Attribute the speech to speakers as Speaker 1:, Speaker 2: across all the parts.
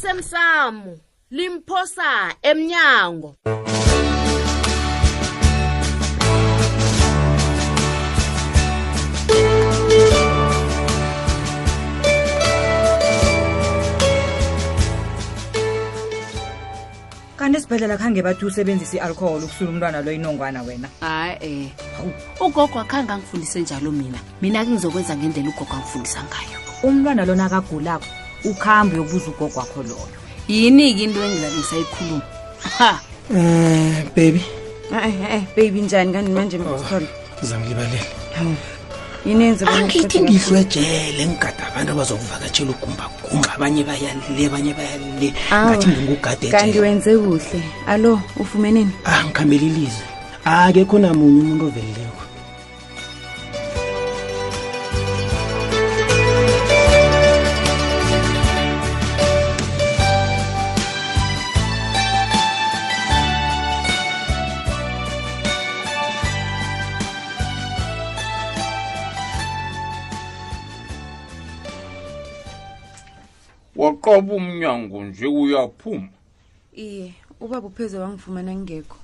Speaker 1: osemsamo limphosa emnyango
Speaker 2: kanti esibhedlela khange bathi usebenzise i-alcohol ukusula umntwana lo inongwana wena
Speaker 3: hayi um ugogo akhange angifundise njalo mina mina-ke ngizokwenza ngendlela ugogo angifundisa ngayo
Speaker 2: umntwana lona akagulako ukuhambe uyobuza ugogo wakho loyo
Speaker 3: yini-ke into engizabe ngisayikhuluma ha
Speaker 4: Eh,
Speaker 5: um baby
Speaker 4: baby njani kanti manje msithole
Speaker 5: uzangilibalele
Speaker 4: inenze bona
Speaker 5: angithi
Speaker 4: uqede-
Speaker 5: ngihlwejele ngigada abantu abazokuvakatshela ugumbagumba abanye bayale abanye bayale
Speaker 4: Awa.
Speaker 5: ngathi ngingugade Ah,
Speaker 4: kanti
Speaker 5: nje
Speaker 4: wenze kuhle allo ufumeneni
Speaker 5: angikhambela ilizwe akekho namunye umuntu ovelileko
Speaker 6: waqaba umnyango nje uyaphuma
Speaker 4: iye ubaba upheze wangifumana ngingekho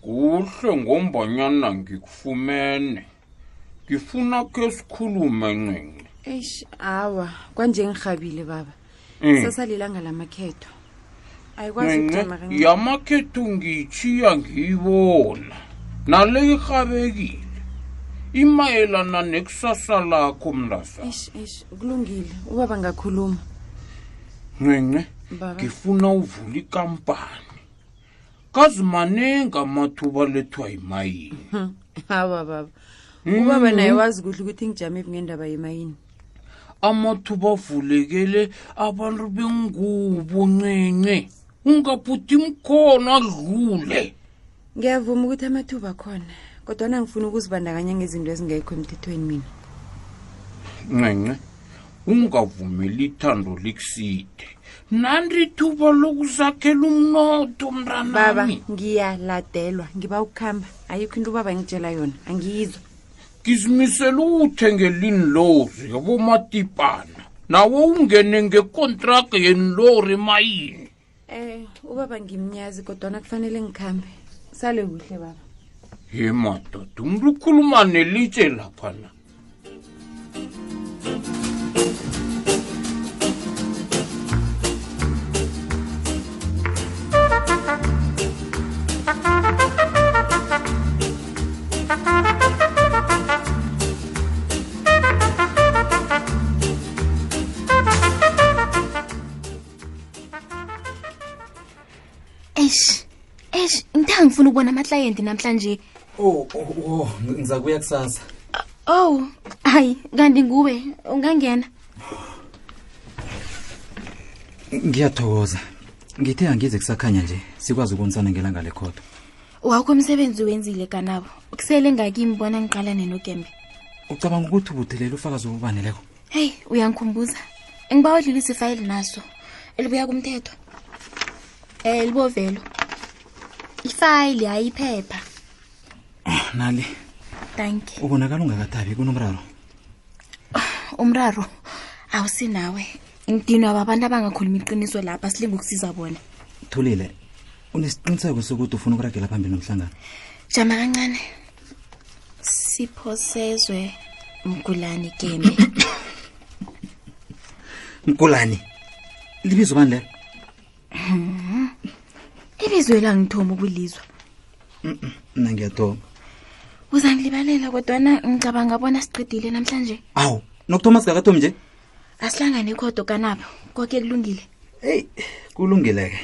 Speaker 6: kuhle ngombanyana ngikufumene ngifuna ke sikhulume ncinci
Speaker 4: eish awa kwanje ngirhabile baba
Speaker 7: Hmm.
Speaker 6: Mm.
Speaker 4: sesalilanga lamakhetho ayikwazi ukujama
Speaker 6: ncinci
Speaker 4: kancane.
Speaker 6: yamakhetho ngiyitshiya ngiyibona nale irhabekile imayelana nekusasa lakho mnazana
Speaker 4: eish eish kulungile ubaba ngakhuluma
Speaker 6: ncinci
Speaker 4: baba
Speaker 6: ngifuna uvula ikampani kazimanengi amathuba lethwa yimayini
Speaker 4: Hmm, awa baba ubaba naye wazi kuhle ukuthi ngijame phi ngendaba yemayini
Speaker 6: amathuba avulekele abantu bengubo ncinci ungaphuthi mkhono adlule
Speaker 4: ngiyavuma ukuthi amathuba khona kodwana ngifuna ukuzibandakanya ngezinto ezingekho emthethweni mina
Speaker 6: ncinci ungavumeli ithando likuside nanti ithuba lokuzakhela umnotho
Speaker 4: baba
Speaker 6: mntanami
Speaker 4: ngiyaladelwa ngiba ukukhamba ayikho into ubaba ngitshela yona angiyizwa
Speaker 6: ngizimisele ukuthengela inlozi yabomatipana nawe ungene ngekontraka yenilori emayini
Speaker 4: um ubaba ngimnyazi kodwana kufanele ngikhambe sale kuhle baba
Speaker 6: ye madoda umntu ukhuluma nelitshe laphana
Speaker 8: esh esh ngitha ngifuna ukubona amaklayenti namhlanje
Speaker 9: o ngiza kuya oh, kusasa
Speaker 8: oh hayi kanti nguwe ungangena
Speaker 9: ngiyathokoza ngithe angize kusakhanya nje sikwazi ukunisana ngelanga lekhodo
Speaker 8: wakho umsebenzi wenzile kanabo kusele ngakimi bona ngiqalane nogembe
Speaker 9: ucabanga ukuthi ubuthelela ufakazi obubaneleko
Speaker 8: heyi uyangikhumbuza ngiba udlulisa ifayili naso elibuya kumthetho um libovelo ifayili hayi iphepha
Speaker 9: Ah, nali
Speaker 8: thank you
Speaker 9: ubonakala ungakathabi kunomraro
Speaker 8: umraro awusinawe ngidinwa babantu abangakhuluma iqiniso lapha silinga ukusiza bona
Speaker 9: thulile unesiqiniseko sokuthi ufuna ukuragela phambili nomhlangano
Speaker 8: jama kancane siphosezwe mgulani gembe
Speaker 9: mkulani libizo bani lelo
Speaker 8: ibizo elangithoma ukulizwa
Speaker 9: mna ngiyathoba
Speaker 8: uzangilibalela kodwana ngicabanga bona siqedile namhlanje
Speaker 9: awu nokuthoma singakathomi nje
Speaker 8: asihlangane ikhodo kanapho koke kulungile
Speaker 9: eyi kulungile-ke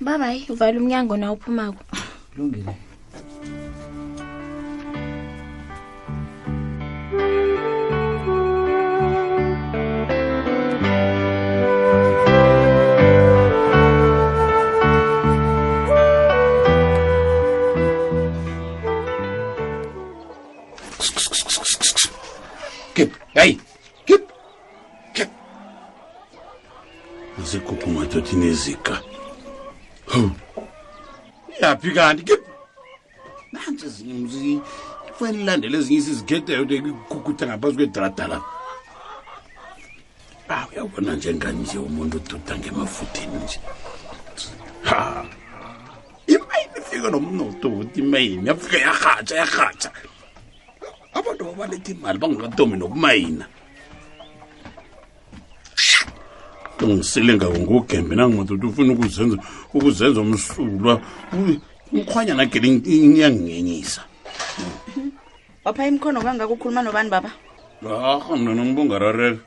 Speaker 8: babayi uvala umnyango na uphumako
Speaker 9: kulungile
Speaker 7: Kip, hey, kip, kip. Zikhupha madoda inezika. Hawu. Yaphi kanti kip? Nansi zimzi. Kufanele ilandele ezinye isizigedeyo de kukuta ngaphansi kwedrada la. Awu, bona njengani Ah, nje umuntu ududa ngemafuthini nje ha imayini ifika nomnotho ukuthi imayini yafika yarhatsha yarhatsha abantu babaletha imali bangakatomi nokumayina ngisile ngako ngugembe nangimadoda ufuna ukuzenza ukuzenza umsulwa u- umkhwanyana gele iyangingenyisa
Speaker 10: wapha imkhono kangaka ukhuluma nobani baba
Speaker 7: aha mna ngibongararela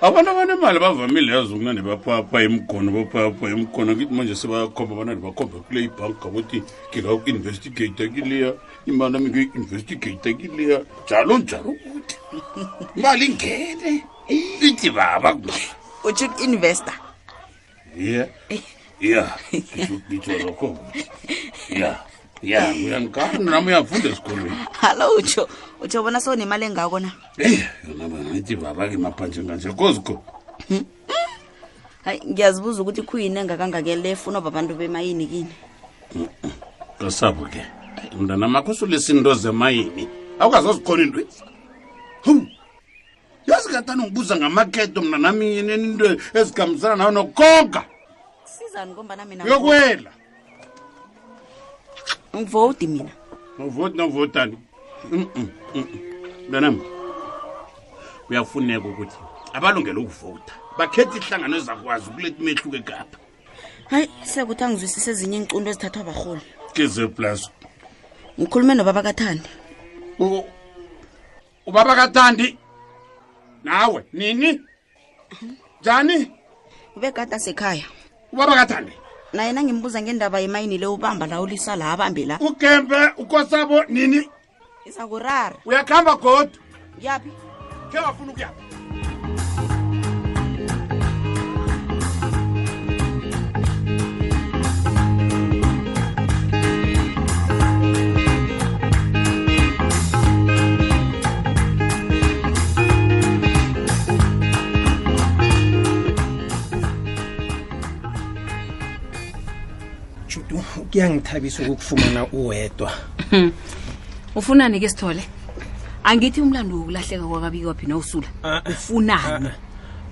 Speaker 7: abantu abanemali bavamile yazo kunande baphapha imigono baphapha imigono kithi manje sebayakhomba abanandi bakhomba kule ibhanki kabothi ngingaku-investigata kileya imali ami ngiyoyi-investigata kileya njalo njalo ukuthi imali ingene ithi baba kumina
Speaker 10: utsho ku-investor
Speaker 7: ya ya ngitsho lokho ya ya uyanikana nami uyafunda esikolweni
Speaker 10: alo utsho utsho bona sowunemali engako na
Speaker 7: eyi Eh, yona bana ithi baba ke maphanjeni kanje kozikho
Speaker 10: hayi ngiyazibuza ukuthi khuyini engakangake le funwa babantu bemayini kini
Speaker 7: kasabo ke mntana makho sulesinto zemayini awukazazikhona into hum yazi katani ungibuza ngamakheto mna nami into ezikhambisana nawo nokukhonka
Speaker 10: sizani kombana mina
Speaker 7: yokwela
Speaker 10: ngivoti mina
Speaker 7: novoti Mm, novotani mntanam kuyafuneka ukuthi abalungele ukuvota bakhethe ihlangano ezakwazi ukuletha imehluko ekapha
Speaker 10: hayi siyakuthi angizwisise ezinye iincundo ezithathwa barholi
Speaker 7: kezeplasi
Speaker 10: ngikhulume nobaba kathandi
Speaker 7: U- ubaba katandi nawe nini njani
Speaker 10: ubegada sekhaya
Speaker 7: ubaba katandi
Speaker 10: naye nangimbuza ngendaba yemayini le ubamba la ulisa la abambe la
Speaker 7: ugembe ukosabo nini
Speaker 10: izakurara
Speaker 7: uyakuhamba godu
Speaker 10: yaphi
Speaker 7: khe wafuna ukuyapha
Speaker 5: judu kuyangithabisa ukukufumana uwedwa
Speaker 3: ufunani ke sithole angithi umlando wokulahleka kwakabiki waphi nawusula
Speaker 5: Ah, ah,
Speaker 3: ufunani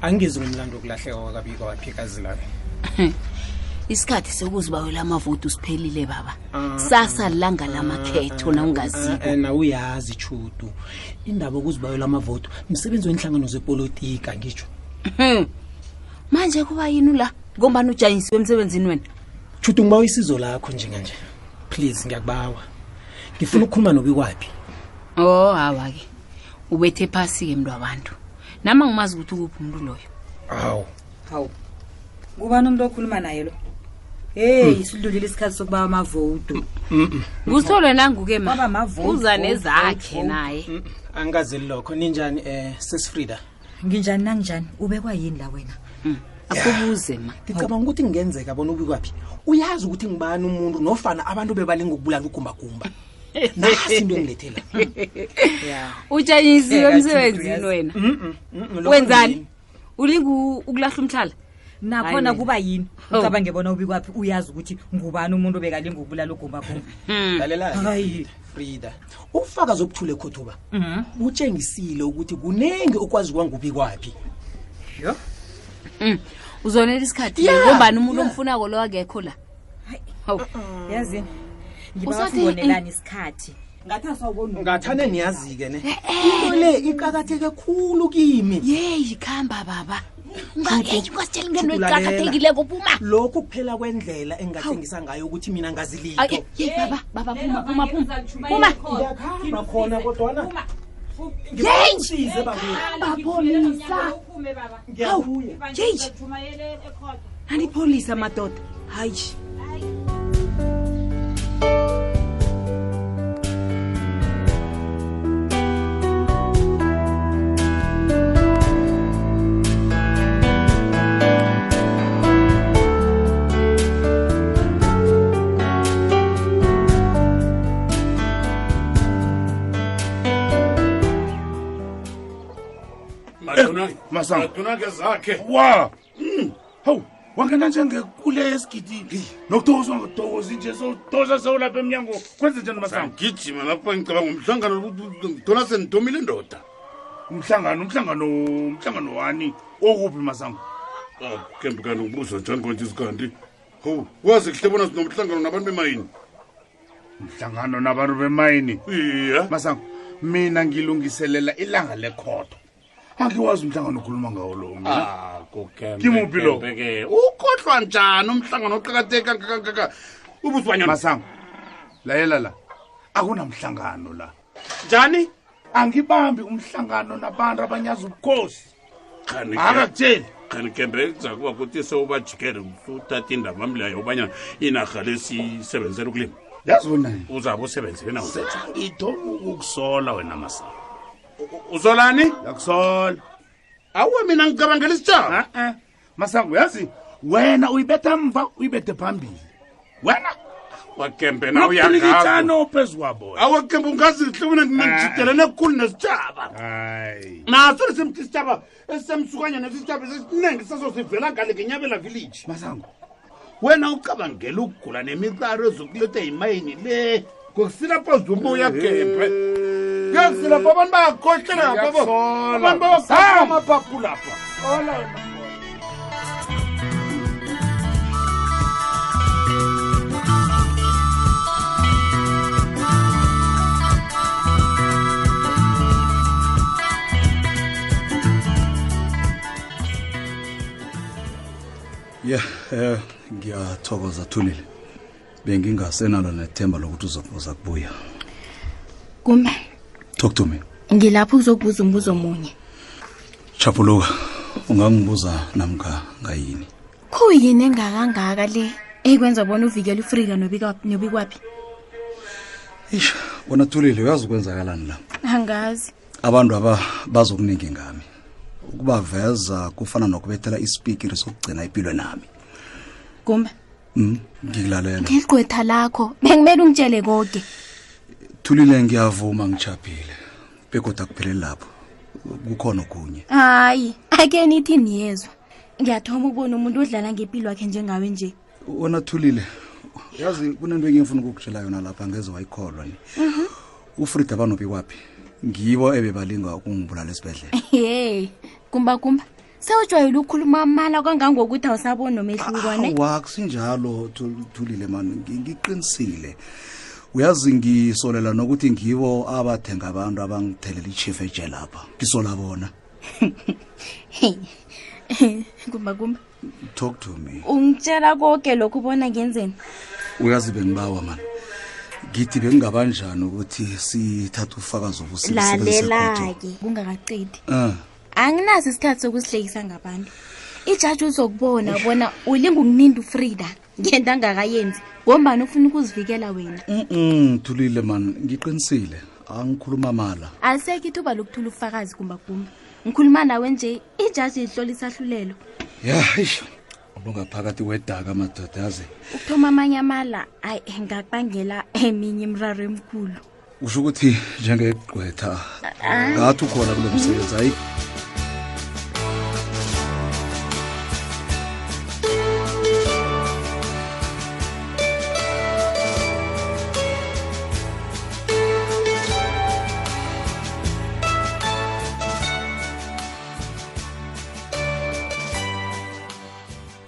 Speaker 5: angizi ngumlando wokulahleka wakabika waphikazi lami
Speaker 3: isikhathi sokuzibawela amavoti usiphelile baba
Speaker 5: Ah,
Speaker 3: sasa langa lamakhetho nawungaziko
Speaker 5: na uyazi chudu eh, indaba yokuzibawela amavoto msebenzi wenhlangano zepolitika ngitsho
Speaker 3: manje kuba yini la ngombani ujanyisiwe emsebenzini wena
Speaker 5: chudu ngibawa isizo lakho njenganje please ngiyakubawa ngifuna ukukhuluma nobikwaphi
Speaker 3: o hawa-ke ubethe phasi-ke mntu abantu nama ngumazi ukuthi ukuphi umntu loyo
Speaker 5: awu
Speaker 2: hawu ubani umuntu okhuluma naye lo
Speaker 9: Hmm.
Speaker 2: heyi sidlulile isikhathi sokuba amavoto
Speaker 3: ngusitholwe nangu-ke ma
Speaker 2: Baba, ma-vote,
Speaker 3: uza
Speaker 2: vote,
Speaker 3: nezakhe
Speaker 2: vote,
Speaker 3: naye
Speaker 5: angikazeli Mm, lokho ninjani um sesifrida
Speaker 2: nginjani nanginjani ubekwa yini la wena
Speaker 3: akubuze ma
Speaker 5: ngicabanga ukuthi kungenzeka bona ubikwaphi uyazi ukuthi ngibani umuntu nofana abantu bebalinga ukubulala ugumbagumba nasi into engilethela
Speaker 3: ujanyisiwe
Speaker 2: Eka,
Speaker 3: emsebenzini
Speaker 2: Thudu,
Speaker 3: wena Mm, wenzani ulinga u- ukulahla umhlala
Speaker 2: nakhona
Speaker 3: Hayi,
Speaker 2: kuba yini
Speaker 3: Oh.
Speaker 2: ucabange bona ubikwaphi uyazi ukuthi ngubani umuntu obekalinga ukubulala ugumbagumba hayi
Speaker 5: frida ufakazi obuthule khothuba butshengisile ukuthi kuningi okwaziwa ngubikwaphi
Speaker 2: yo
Speaker 3: uzonela isikhathi
Speaker 5: Yeah,
Speaker 3: ngombani umuntu omfunako lo akekho la hawu
Speaker 2: yazini
Speaker 3: Usathi-
Speaker 2: ngibabonelani isikhathi ngathi asawubona
Speaker 5: ngathane niyazi-ke ne into le iqakatheke khulu kimi
Speaker 3: yeyi khamba baba ungangeki ungasitsheli ngento
Speaker 5: Thula lela.
Speaker 3: eqakathekileko puma
Speaker 5: lokhu kuphela kwendlela engingatshengisa ngayo ukuthi mina ngazilito
Speaker 3: Ay, yeyi baba baba puma puma puma puma
Speaker 5: ngiyakhamba khona kodwana
Speaker 3: yeyi
Speaker 5: ngiyabuya
Speaker 3: yeyi anipholisa madoda hayi
Speaker 7: masango madunake zakhe wa Hmm. hawu wangena njengekule esigidini nokuthokozwa tokozi nje sowutoza sewulapha emnyango
Speaker 11: kwenze njani masango
Speaker 7: sangijima lapha ngicabanga umhlangano ukuthi ngithola sendidomile ndoda
Speaker 11: umhlangano umhlangano umhlangano wani okuphi masango
Speaker 7: kembe kanti ubuzwa njani konje isikanti ho wazi kuhle bona sinomhlangano nabantu bemayini
Speaker 11: mhlangano nabantu bemayini
Speaker 7: iye
Speaker 11: masango mina ngilungiselela ilanga lekhodo angiwazi umhlangano okhuluma ngawo lo mina kimuphi lo
Speaker 7: ukhohlwa njani umhlangano oqakatheke kangakangaka ubuzwanyana
Speaker 11: masango lalela la akunamhlangano la
Speaker 7: njani
Speaker 11: angibambi umhlangano nabantu abanyaza ubukhosi akakutsheli
Speaker 7: kanti kembe kuzakuba kuthi sewubajikele uthatha indaba mleyo ubanyana inarha lesiyisebenzela ukulima
Speaker 11: yazi wena
Speaker 7: uzabe usebenzele nawo
Speaker 11: ngithoma ukukusola wena masango
Speaker 7: uzolani
Speaker 11: yakusola
Speaker 7: awuwe mina ngicabangela isitshaba
Speaker 11: a-a masango uyazi wena uyibetha mva uyibethe phambili wena
Speaker 7: wakembe na uyaa
Speaker 11: nauyaqikitshana ophezu kwabo
Speaker 7: awakembe ungazihle mina ngijidelene kukhulu nesitshaba
Speaker 11: hayi
Speaker 7: naso lesemthi isitshaba esisemsukanya nesitshaba sesiningi saso sivela ngale ngenyabela village
Speaker 11: masango
Speaker 7: wena ucabangela ukugula nemiqaro ezokuletha yimayini le ngokusilapha zuma uyagebhe kuyasilapha abantu bayakhohlela ngapha abantu bayakhohlela amaphaphu lapha Ola wena.
Speaker 9: ya eh ngiyathokoza thulile bengingasenalo nethemba lokuthi uzo- uza kubuya
Speaker 8: kumbe
Speaker 9: talk to me
Speaker 8: ngilapho uzokubuza umbuzo munye
Speaker 9: chapuluka ungangibuza namka ngayini
Speaker 8: khuyini engakangaka le ekwenza bona uvikele ufrika nobika- nobikwaphi
Speaker 9: ish wona thulile uyazi ukwenzakalani la
Speaker 8: angazi
Speaker 9: abantu aba bazokuningi ngami ukubaveza kufana nokubethela ispikiri sokugcina impilo nami
Speaker 8: kumbe
Speaker 9: Mm, ngikulalela
Speaker 8: ngeligqwetha lakho bengimele ungitshele koke
Speaker 9: thulile ngiyavuma ngichaphile begoda kupheleli lapho kukhona okunye
Speaker 8: hayi ake nithi niyezwa ngiyathoma ukubona umuntu odlala ngempilo wakhe njengawe nje
Speaker 9: wona thulile yazi kunento engiyefuna ukukutshela yona lapha angeze wayikholwa ni ufrida banobikwaphi ngibo ebebalinga ukungibulala esibhedlela
Speaker 8: ye kumba kumba sewujwayele ukukhuluma amala kangangokuthi awusaboni nomehlukone
Speaker 9: awa kusinjalo Thu- thulile mani ngi- ngiqinisile uyazi ngisolela nokuthi ngibo abathenga abantu abangithelela ichief eje lapha ngisola bona
Speaker 8: kumba kumba
Speaker 9: talk to me
Speaker 8: ungitshela koke lokhu ubona ngenzeni
Speaker 9: uyazi bengibawa mani ngithi bengingabanjani ukuthi sithathe ufakazi obusilalela
Speaker 8: lalela-ke kungakacidi
Speaker 9: um
Speaker 8: anginaso isikhathi sokusihlekisa ngabantu ijaji uzokubona bona ulinga ukuninda ufrida ngento angakayenzi ngombani ufuna ukuzivikela wena
Speaker 9: Mm thulile man ngiqinisile angikhuluma mala
Speaker 8: aliseke ithuba lokuthula ubufakazi kumbagumba ngikhuluma nawe nje ijaji ihlole isahlulelo
Speaker 9: ya ish olungaphakathi wedaka madoda yazi
Speaker 8: ukuthoma amanye amala hayi ngakubangela eminye imraro emkhulu
Speaker 9: usho ukuthi njengegqwetha
Speaker 8: Ah.
Speaker 9: ngathi ukhona kulo msebenzi hayi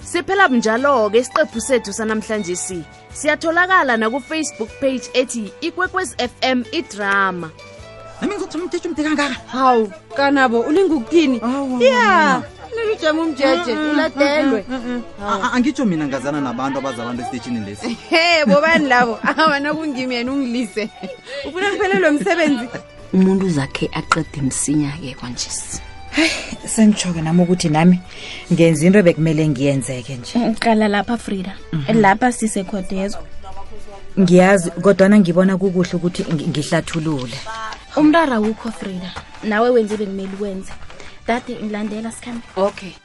Speaker 1: siphela bunjalo-ke isiqephu sethu sanamhlanje si siyatholakala nakufacebook page ethi ikwekwez fm idrama
Speaker 2: nami ngizothi umthetho umde kangaka
Speaker 4: hawu kanabo ulinga ukuthini ya nilujama umjeje uladelwe
Speaker 12: angitsho mina ngazana nabantu abazabantu esiteshini lesi
Speaker 4: he bobani labo awana kungimi yena ungilise ufuna kuphelelwe msebenzi
Speaker 3: umuntu zakhe aqede msinya-ke kwanjesi
Speaker 2: sengitsho-ke nami ukuthi nami ngenza into bekumele ngiyenzeke nje
Speaker 8: uqala lapha frida lapha sisekhodezwa
Speaker 2: ngiyazi kodwana ngibona kukuhle ukuthi ngi- ngihlathulule
Speaker 8: umrara wukho frida nawe wenze bekumele uwenze dade ngilandela sikhambe
Speaker 3: okay